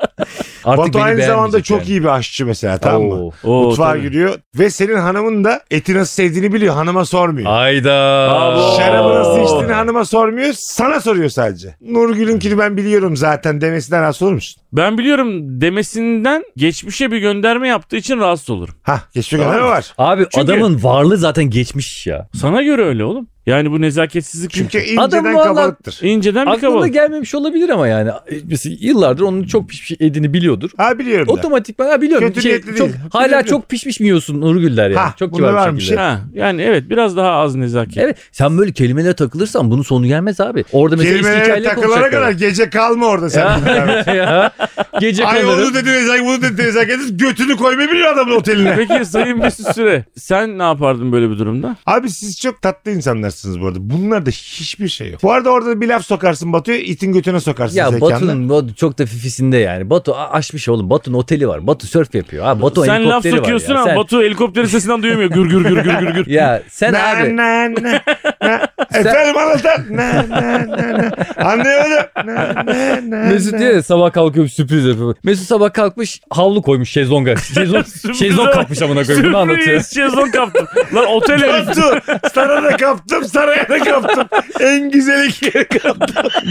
A: Batu aynı zamanda çok iyi bir aşçı mesela tamam mı?
C: Oo,
A: Mutfağa
C: tabii.
A: giriyor ve senin hanımın da eti nasıl sevdiğini biliyor hanıma sormuyor.
B: Ayda.
C: Aa.
A: Şarabı nasıl
C: Oo.
A: içtiğini hanıma sormuyor sana soruyor sadece. Nurgül'ünkini ben biliyorum zaten demesinden rahatsız olur musun?
C: Ben biliyorum demesinden geçmişe bir gönderme yaptığı için rahatsız olurum.
A: Hah geçmiş gönderme var.
B: Abi
C: Çünkü-
B: adamın varlığı zaten geçmiş ya.
C: Sana göre öyle oğlum. Yani bu nezaketsizlik
A: Çünkü
B: Adam
A: inceden
B: vallahi-
A: kabalıktır.
C: inceden bir
B: Aklına
C: kabalık.
B: gelmemiş olabilir ama yani. Mesela yıllardır onun çok pişmiş edini biliyordur.
A: Ha biliyorum da.
B: Otomatikman ha biliyorum.
A: Kötü
B: şey,
A: niyetli
B: çok,
A: değil. Kötü
B: hala
A: niyetli.
B: çok pişmiş mi yiyorsun Nurgüller yani?
A: Ha,
B: çok
A: bunda Şey-
B: kibar
A: var
B: bir
A: bir
B: şekilde.
C: Ha, yani evet biraz daha az nezaket.
B: Evet sen böyle kelimelere takılırsan bunun sonu gelmez abi. Orada mesela eski
A: Kelimelere
B: hikayeyle
A: takılana kadar
B: konuşacaklar.
A: gece kalma orada sen.
B: Ya, ya. [LAUGHS] Gece
A: Ay onu
B: kalırım.
A: dedi nezaket bunu dedi nezaket götünü koymayı biliyor adamın oteline.
C: Peki Sayın Mesut Süre sen ne yapardın böyle bir durumda?
A: Abi siz çok tatlı insanlarsınız bu arada. Bunlarda hiçbir şey yok. Bu arada orada bir laf sokarsın Batu'ya itin götüne sokarsın
B: Ya
A: zekanla.
B: Batu'nun Batu çok da fifisinde yani. Batu a- aşmış oğlum. Batu'nun oteli var. Batu sörf yapıyor. Ha, Batu
C: sen laf
B: helikopteri var ya.
C: sokuyorsun ama
B: Sen-
C: Batu helikopterin sesinden duyamıyor. Gür gür gür gür gür gür.
B: Ya
A: [LAUGHS]
B: sen
A: Na,
B: abi.
A: na, na,
B: [LAUGHS]
A: na. Efendim anlatan. Na, na, na, na. Anlayamadım. Na, na, na,
B: Mesut
A: na.
B: diyor ya sabah kalkıyorum sürpriz yapıyorum. Mesut sabah kalkmış havlu
C: [LAUGHS]
B: koymuş şezlonga. Şezlong,
C: Sürpriz
B: şezlong
C: ama-
B: kapmış amına koyayım. Bunu
C: [LAUGHS]
B: anlatıyor.
C: Sürpriz şezlong kaptım. Lan otel herif.
A: Kaptı. Sana da kaptım, saraya da kaptım. En güzel iki.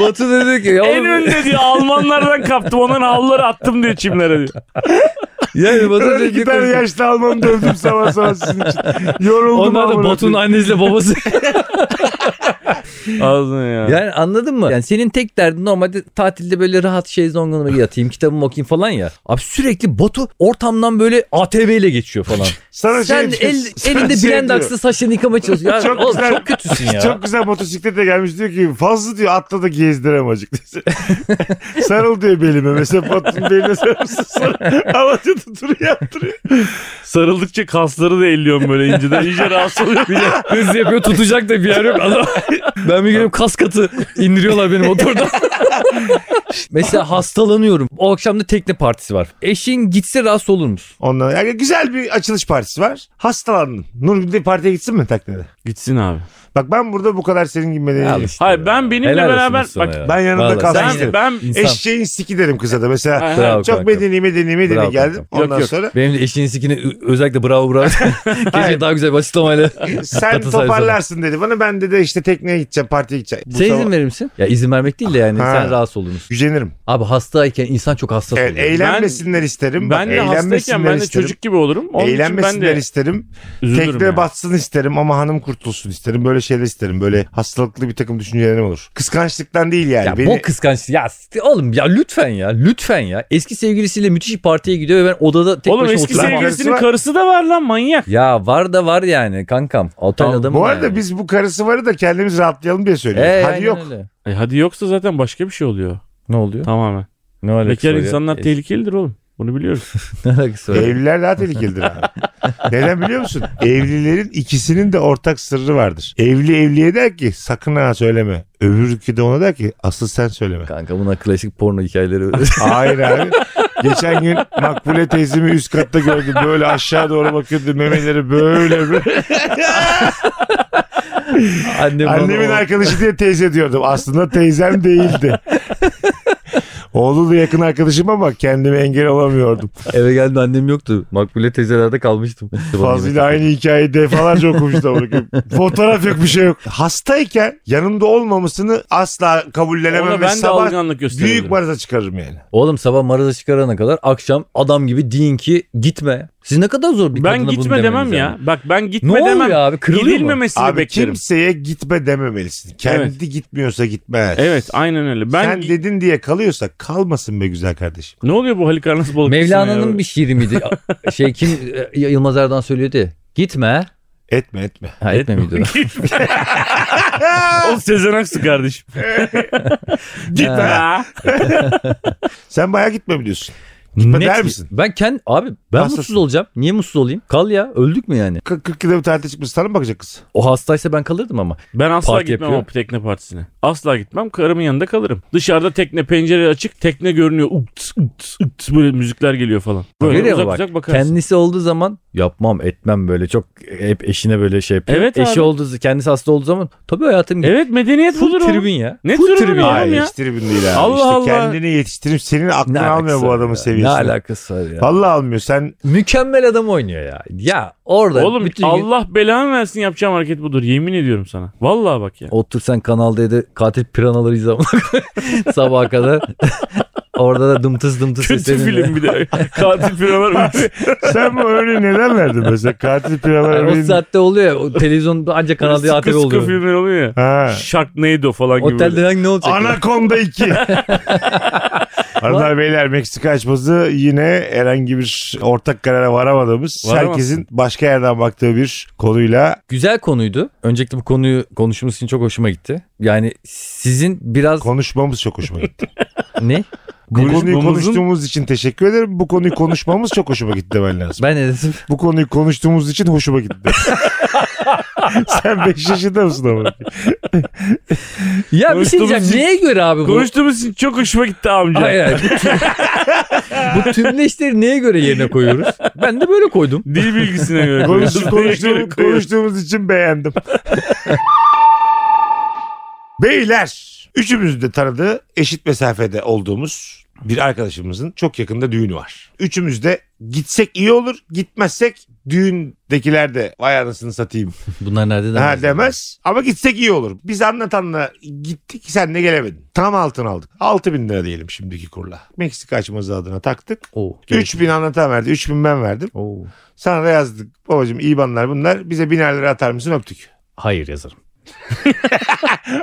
B: Batu dedi ki ya
C: En
B: oğlum,
C: önde diyor Almanlardan kaptım. Onların havluları attım diyor çimlere diyor.
B: yani Batu
A: Öyle iki
B: dedi
A: tane
B: ki
A: yaşlı Alman dövdüm sabah sabah sizin için. Yoruldum.
B: onlar da
A: amına
B: Batu'nun
A: koyayım.
B: annesiyle babası.
C: Ağzına ya.
B: yani anladın mı? Yani senin tek derdin normalde tatilde böyle rahat şezlonguna yatayım [LAUGHS] kitabımı okuyayım falan ya. Abi sürekli Batu ortamdan böyle ATV ile geçiyor falan.
A: [LAUGHS] Sana
B: Sen
A: şey-
B: el,
A: sana
B: elinde
A: şey
B: blend
A: diyor.
B: aksla saçını yıkamaya çalışıyorsun.
A: [LAUGHS]
B: Ya,
A: Çok
B: çok, oğlum,
A: güzel.
B: çok kötüsün ya. [LAUGHS]
A: Çok güzel motosiklete gelmiş diyor ki fazla diyor atla da gezdirem acık. [LAUGHS] Sarıl diyor belime mesela patron beline sarılsın
C: [LAUGHS]
A: sarıl. Ama diyor da turu yaptırıyor.
C: Sarıldıkça kasları da elliyorum böyle inceden. İyice rahatsız oluyor.
B: Bir de hız yapıyor tutacak da bir yer yok
A: [LAUGHS]
B: adam. Ben bir geliyorum kas katı indiriyorlar beni motordan. [LAUGHS] Mesela hastalanıyorum. O akşam da tekne partisi var. Eşin gitse rahatsız olur musun?
A: Ondan yani güzel bir açılış partisi var. Hastalandın. Nurgül de partiye gitsin mi teknede?
C: Gitsin abi.
A: Bak ben burada bu kadar senin gibi medeni değilim.
C: Hayır, ben benimle beraber- bak,
A: Ee, ben yanında kalsın
B: kalsam.
A: isterim.
C: Ben, ben
A: Eşeğin siki derim kıza da mesela.
C: Ay,
B: Bravo
A: çok
B: kanka.
A: medeni medeni medeni
B: Bravo
A: geldim.
B: kankam.
A: Ondan
C: Yok, yok. [LAUGHS]
A: sonra
B: Benim de eşinin sikini ö- özellikle
A: [LAUGHS]
B: bravo bravo. Keşke daha güzel bir açıklamayla.
A: sen
B: Katıl sayısı.
A: toparlarsın dedi bana. Ben de de işte tekneye gideceğim partiye gideceğim. Bu
C: Şey
B: Sen
A: sabah-
B: izin verir misin? Ya izin vermek değil de yani
A: Ha.
B: sen rahatsız olur musun?
A: Gücenirim.
B: Abi hastayken insan çok hassas
A: Evet, e,
B: oluyor.
A: eğlenmesinler isterim. Bak,
C: ben de hastayken
A: eğlenmesinler
C: ben de
A: isterim.
C: çocuk gibi olurum. Onun için ben
A: Eğlenmesinler
C: de
A: isterim.
C: üzülürüm.
A: Tekne
C: yani.
A: batsın isterim ama hanım kurtulsun isterim. Böyle şeyler isterim. Böyle hastalıklı bir takım düşüncelerim olur. Kıskançlıktan değil yani.
B: Ya
A: Beni-
B: bok kıskançlık. Ya s- oğlum ya lütfen ya. Lütfen ya. Eski sevgilisiyle müthiş bir partiye gidiyor ve ben odada tek
C: Oğlum
B: başına
C: eski
B: oturuyorum.
A: sevgili-
C: sevgilisinin karısı da var lan manyak.
B: Ya var da var yani kankam. Otel
C: Tamam,
B: adamı
A: bu
B: da
A: arada
B: yani.
A: biz bu karısı varı da kendimiz rahatlayalım diye
B: Ee,
A: söylüyoruz.
B: aynen
A: Hadi yok.
B: öyle.
C: E hadi yoksa zaten başka bir şey oluyor.
B: Ne oluyor?
C: Tamamen.
B: Ne alakası
C: Bekar
B: var ya?
C: insanlar
B: E,
C: tehlikelidir oğlum. Bunu biliyoruz.
B: [LAUGHS] Ne alakası var?
C: [LAUGHS]
B: ya?
A: Evliler daha tehlikelidir abi. Neden biliyor musun? Evlilerin ikisinin de ortak sırrı vardır. Evli evliye der ki sakın ha söyleme. Öbürkü de ona der ki asıl sen söyleme.
B: Kanka buna klasik porno hikayeleri [LAUGHS] öyle.
A: Hayır abi. Geçen gün Makbule teyzemi üst katta gördüm. Böyle aşağı doğru bakıyordu. Memeleri böyle böyle.
B: Annem bana
A: Annemin
B: o-
A: arkadaşı
C: [LAUGHS]
A: diye teyze diyordum. Aslında teyzem değildi. Oğlu da yakın arkadaşım ama kendime engel olamıyordum.
B: Eve geldi annem yoktu. Makbule teyzelerde kalmıştım.
A: Fazlıyla aynı hikayeyi defalarca okumuştu. Fotoğraf yok bir şey yok. Hastayken yanımda olmamasını asla kabullenemem.
C: Ona
A: ve
C: ben de
A: sabah
C: alışkanlık gösteriyorum.
A: büyük baraza çıkarırım yani.
B: Oğlum sabah maraza çıkarana kadar akşam adam gibi deyin ki gitme. Siz ne kadar zor bir
C: Ben
B: kadına bunu
C: gitme
B: demeniz
C: demem ya.
B: yani.
C: Bak ben
B: Ne
C: gitme
B: oluyor
C: demem.
B: abi? Kırılıyor mu?
C: Gidilmemesini
A: Abi
C: beklerim.
A: kimseye gitme dememelisin. Kendi gitmiyorsa gitmez.
C: Evet aynen öyle. Ben
A: Sen dedin diye kalıyorsa kalmasın be güzel kardeşim.
C: Ne oluyor bu Halikarnas balıkçısına
B: Mevlana'nın
C: ya? [LAUGHS]
B: bir şiiri miydi? şey kim Yılmaz Erdoğan söylüyordu. Gitme.
A: Etme etme.
B: Ha
C: [LAUGHS]
B: etme miydi o?
C: o Sezen Aksu
B: [LAUGHS]
C: kardeşim. Gitme. ha.
A: Sen bayağı gitme biliyorsun.
B: Net
A: der
B: ki-
A: misin?
B: Ben kendi abi ben
A: Hastasın.
B: mutsuz olacağım. Niye mutsuz olayım? Kal ya öldük mü yani?
A: 40 yılda bir tatile çıkmış sana mı bakacak kız?
B: O hastaysa ben kalırdım ama.
C: Ben asla
B: Parti
C: gitmem
B: yapıyor.
C: ama tekne partisine. Asla gitmem. Karımın yanında kalırım. Dışarıda tekne pencere açık. Tekne görünüyor. Uts, uts, uts, böyle müzikler geliyor falan. Böyle
B: Görüyor musun
C: uzak
B: bak,
C: uzak bakarsın.
B: Kendisi olduğu zaman yapmam etmem böyle çok hep eşine böyle şey yapıyor.
C: Evet
B: Eşi
C: abi.
B: olduğu kendisi hasta olduğu zaman tabii hayatım gitti.
C: Evet medeniyet
B: Full
C: budur oğlum.
B: tribün ya.
C: Ne
B: Full
C: tribünü
B: tribün
C: ya?
B: ya.
C: Tamam
A: Hayır hiç tribün değil abi.
C: Allah
A: işte
C: Allah.
A: kendini yetiştirip senin
B: Ne
A: aklını
B: alakası
A: almıyor bu
B: var
A: adamın
B: ya?
A: seviyesine.
B: Ne alakası var ya?
A: Vallahi almıyor. Sen
B: Mükemmel adam oynuyor ya. Ya orada
C: Oğlum
B: bütün gün
C: Allah belanı versin yapacağım hareket budur. Yemin ediyorum sana. Vallahi bak
B: [LAUGHS]
C: ya.
B: otur sen Kanal D'de katil piranaları izle [LAUGHS] sabaha kadar. [LAUGHS] orada da dımtıs dımtıs
C: Kötü
B: sesleninle.
C: film bir de. Katil piralar uçuyor.
A: sen bu örneği neden verdin mesela? Katil
B: Yani
A: piralar
B: [LAUGHS] o saatte oluyor ya. O televizyonda ancak [LAUGHS] Kanal D
C: Sıkı
B: ATV
C: sıkı
B: oluyor.
C: filmler oluyor ya.
B: [LAUGHS]
A: Ha.
C: Sharknado falan gibi. böyle.
B: Otelde hangi ne olacak? ya?
A: Anakonda
B: [LAUGHS]
A: 2. Hanımlar beyler Meksika açması yine herhangi bir ortak karara varamadığımız
C: Varamazsın.
A: herkesin başka yerden baktığı bir konuyla
B: Güzel konuydu. Öncelikle bu konuyu konuşmamız için çok hoşuma gitti. Yani sizin biraz
A: konuşmamız çok hoşuma gitti.
B: ne?
A: Bu konuyu
C: Konuşmamızın-
A: konuştuğumuz için teşekkür ederim. Bu konuyu konuşmamız çok hoşuma gitti demen lazım.
B: Ben ne
A: [LAUGHS]
B: dedim?
A: Bu konuyu konuştuğumuz için hoşuma gitti. [LAUGHS] Sen 5 yaşında mısın ama?
B: Ya bir şey
C: Konuştuğumuz
B: diyeceğim.
C: için-
B: Neye göre abi bu?
C: Konuştuğumuz için çok hoşuma gitti amca.
B: Hayır hayır. Bu tüm- [LAUGHS] bu tümleşleri neye göre yerine koyuyoruz? Ben de böyle koydum.
C: Dil bilgisine
B: [LAUGHS]
C: göre.
A: Konuş,
C: konuşuyoruz.
A: konuştuğum- konuştuğumuz için beğendim. [LAUGHS] Beyler, üçümüzün de tanıdığı eşit mesafede olduğumuz bir arkadaşımızın çok yakında düğünü var. Üçümüz de gitsek iyi olur, gitmezsek düğündekiler de vay anasını satayım
B: Bunlar nerede
A: ha demez. Ama gitsek iyi olur. Biz anlatanla gittik sen de gelemedin. Tam altın aldık. 6000 bin lira diyelim şimdiki kurla. Meksika açması adına taktık.
B: Oo.
A: 3000 bin anlatan verdi. 3000 bin ben verdim.
B: Oo.
A: Sana da yazdık. Babacım IBAN'lar bunlar. Bize biner lira atar mısın öptük.
B: Hayır yazarım.
A: [LAUGHS]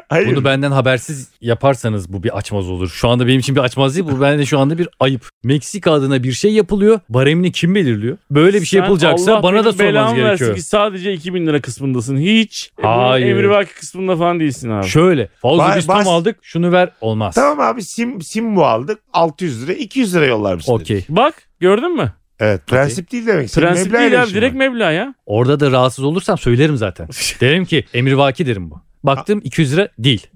A: Hayır.
B: Bunu benden habersiz yaparsanız bu bir açmaz olur. Şu anda benim için bir açmaz değil. Bu bende şu anda bir ayıp. Meksika adına bir şey yapılıyor. Baremini kim belirliyor? Böyle bir şey
C: Sen
B: yapılacaksa
C: Allah
B: bana da
C: benim
B: sormanız
C: belamı
B: gerekiyor.
C: Versin ki sadece 2000 lira kısmındasın. Hiç.
B: Hayır.
C: Hayır. Emrivaki kısmında falan değilsin abi.
B: Şöyle fazla
A: Ba-
B: biz tam
A: bas-
B: aldık şunu ver olmaz.
A: Tamam abi sim, sim bu aldık. 600 lira 200 lira yollar mısın? dedi.
B: Okey.
C: Bak gördün mü?
A: Evet prensip değil demek. Senin
C: Prensip
A: meblağ
C: değil abi
A: iletişim
C: direkt
A: var.
C: meblağ ya.
B: Orada da rahatsız olursam söylerim zaten.
A: [LAUGHS]
B: derim ki emirvaki derim bu. Baktım 200 lira değil.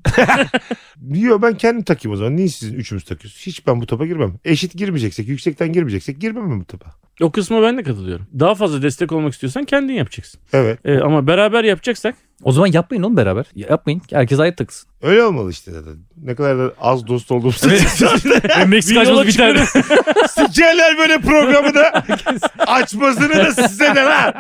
A: Diyor ben kendim takayım o zaman. Niye sizin üçümüz takıyorsunuz? Hiç ben bu topa girmem. Eşit girmeyeceksek yüksekten girmeyeceksek girmem mi bu topa?
C: O kısma ben de katılıyorum. Daha fazla destek olmak istiyorsan kendin yapacaksın.
A: Evet.
C: Ee, ama beraber yapacaksak
B: O zaman yapmayın oğlum beraber. Ya- Yapmayın. Herkes ayıp takılsın.
A: Öyle olmalı işte zaten. Ne kadar da az dost olduğumuz
B: [LAUGHS]
A: [LAUGHS]
B: Meksika
C: Bir yola
B: açması biter.
A: Sikerler böyle programı
B: [LAUGHS]
A: da açmasını da size de lan.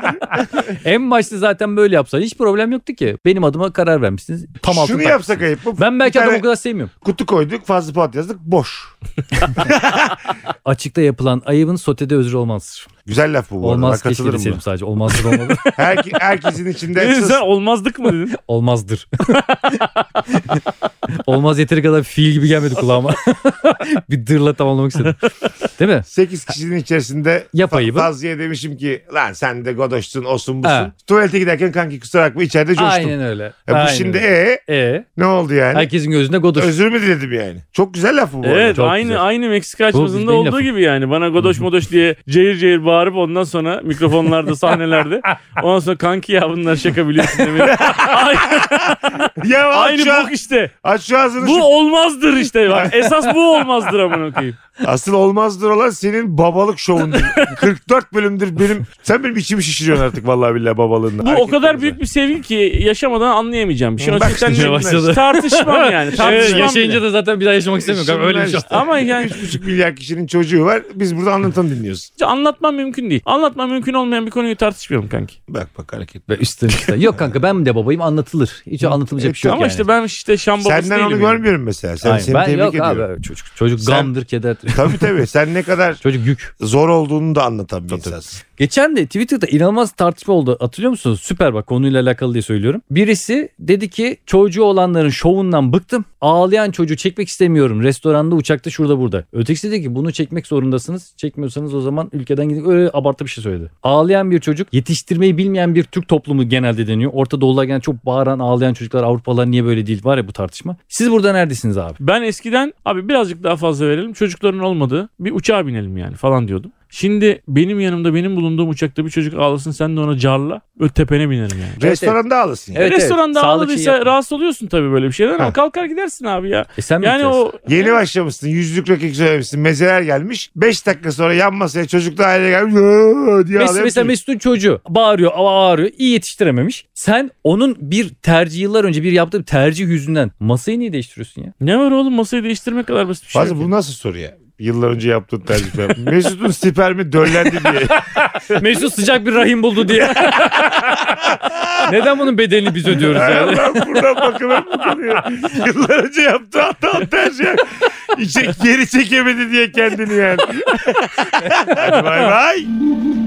B: en başta zaten böyle yapsan hiç problem yoktu ki. Benim adıma karar vermişsiniz. Tam altın
A: Şunu
B: tak-
A: yapsak ayıp mı?
B: Ben
A: Bir
B: belki adamı
A: tane
B: o kadar sevmiyorum.
A: Kutu koyduk fazla puan yazdık boş.
B: Açıkta yapılan ayıbın sotede özrü olmaz.
A: Güzel laf bu bu arada. Ben
B: Olmaz keşke
A: katılırım buna.
B: deseydim sadece. Olmazdır [LAUGHS] olmadı. [LAUGHS]
C: [LAUGHS]
A: Herki- herkesin içinde
C: dedin
A: sus.
C: sen olmazdık mı dedin?
B: Olmazdır. [LAUGHS] Olmaz yeteri kadar fiil gibi gelmedi kulağıma. [LAUGHS] bir dırla tamamlamak istedim. Değil mi?
A: 8 kişinin içerisinde
B: Yapayım.
A: Fa- Fazlı'ya demişim ki lan sen de godoşsun osun busun.
B: Ha.
A: Tuvalete giderken kanki kusura bakma içeride coştum.
B: Aynen öyle.
A: E bu
B: Aynen
A: şimdi
B: öyle.
A: e
B: E,
A: ne oldu yani?
B: herkesin gözünde godoş.
A: Özür mü diledim yani? Çok güzel laf bu bu
C: Evet
B: çok
C: aynı
B: güzel.
C: aynı Meksika
B: bizdeyin
C: açmasında olduğu
B: lafı.
C: gibi yani. Bana godoş modoş diye cehir cehir bağırıp ondan sonra
B: [LAUGHS]
C: mikrofonlarda sahnelerde. ondan sonra kanki ya bunlar şaka biliyorsun
B: [LAUGHS]
C: demeyi. aynı,
A: arada. Ya aç,
C: aynı
A: şu,
C: bok işte.
A: aç şu ağzını.
C: Bu
A: şu-
C: olmazdır işte.
B: [LAUGHS]
C: Bak, esas bu olmazdır amına koyayım.
A: Asıl olmazdır olan senin babalık
C: [LAUGHS]
A: şovun. 44 bölümdür benim. Sen benim içimi şişiriyorsun artık vallahi billahi babalığından.
C: Bu o kadar
A: Erkeklerimize.
C: büyük bir sevgi ki yaşamadan anlayamayacağım bir şey. O
A: Bak
C: yüzden
A: işte
C: ne-
B: başladı.
C: tartışmam yani. Tartışmam
B: [LAUGHS] Evet,
C: bile.
B: yaşayınca da zaten bir daha yaşamak istemiyorum.
A: Şimdi
B: Abi, Öyle bir şey.
A: işte.
C: Ama yani
A: 3,5 milyar kişinin çocuğu var. Biz burada anlatan dinliyoruz.
C: anlatmam mümkün değil. Anlatmam mümkün olmayan bir konuyu tartışmıyorum kanki.
A: Bak bak hareket.
B: Ve üstüne üstüne. Yok kanka ben de babayım anlatılır. Hiç
A: E,
B: anlatılacak bir şey yok
C: Ama
B: yani.
C: işte ben işte şam babası
A: Senden
C: değilim.
A: onu
C: yani.
A: görmüyorum mesela. Sen,
B: Aynen.
A: seni
B: ben
A: tebrik
B: yok
A: ediyorum.
B: abi çocuk çocuk
A: Sen-
B: gamdır kederdir.
A: Tabii tabii. Sen ne kadar
B: [LAUGHS] Çocuk yük.
A: zor olduğunu da anlatan bir insansın.
B: Geçen de Twitter'da inanılmaz tartışma oldu. Hatırlıyor musunuz? Süper bak konuyla alakalı diye söylüyorum. Birisi dedi ki çocuğu olanların şovundan bıktım. Ağlayan çocuğu çekmek istemiyorum. Restoranda, uçakta, şurada, burada. Ötekisi dedi ki bunu çekmek zorundasınız. Çekmiyorsanız o zaman ülkeden gidin. Öyle abartı bir şey söyledi. Ağlayan bir çocuk yetiştirmeyi bilmeyen bir Türk toplumu genelde deniyor. Orta Doğu'lar genelde çok bağıran, ağlayan çocuklar. Avrupalılar niye böyle değil? Var ya bu tartışma. Siz burada neredesiniz abi?
C: Ben eskiden abi birazcık daha fazla verelim çocukların olmadığı bir uçağa binelim yani falan diyordum. Şimdi benim yanımda benim bulunduğum uçakta bir çocuk ağlasın sen de ona carla öte tepene binerim yani.
B: Evet,
A: Restoranda alırsın. yani.
B: Evet, evet.
C: Restoranda
B: Sağlık için
C: ağladıysa
B: yapma.
C: rahatsız oluyorsun tabii böyle bir şeyden ama
A: Ha.
C: kalkar gidersin abi ya.
B: E sen mi
C: Yani
B: gideceksin?
C: o
A: Yeni başlamışsın. Yüzlük rakik söylemişsin. Mezeler gelmiş. 5 dakika sonra yan masaya çocuk da aile gelmiş. "Yoo!" diye
B: Mes-
A: ağlayan
B: mesela
A: çocuk.
B: Mesut'un çocuğu bağırıyor ağırıyor iyi yetiştirememiş. Sen onun bir tercih yıllar önce bir yaptığı bir tercih yüzünden masayı niye değiştiriyorsun ya?
C: ne var oğlum masayı değiştirmek kadar basit bir şey.
A: Fazla
C: yok
A: bu nasıl soru ya? Yıllar önce yaptığın tercih. ben. [LAUGHS] Mesut'un spermi döllendi diye.
B: Mesut sıcak bir rahim buldu diye. [LAUGHS] Neden bunun bedelini biz ödüyoruz
A: Hay [LAUGHS]
B: yani?
A: Allah buradan bakılır mı konuya? Yıllar önce yaptığı hata tercih. [LAUGHS] İçe, geri çekemedi diye kendini yani. Hadi bay bay.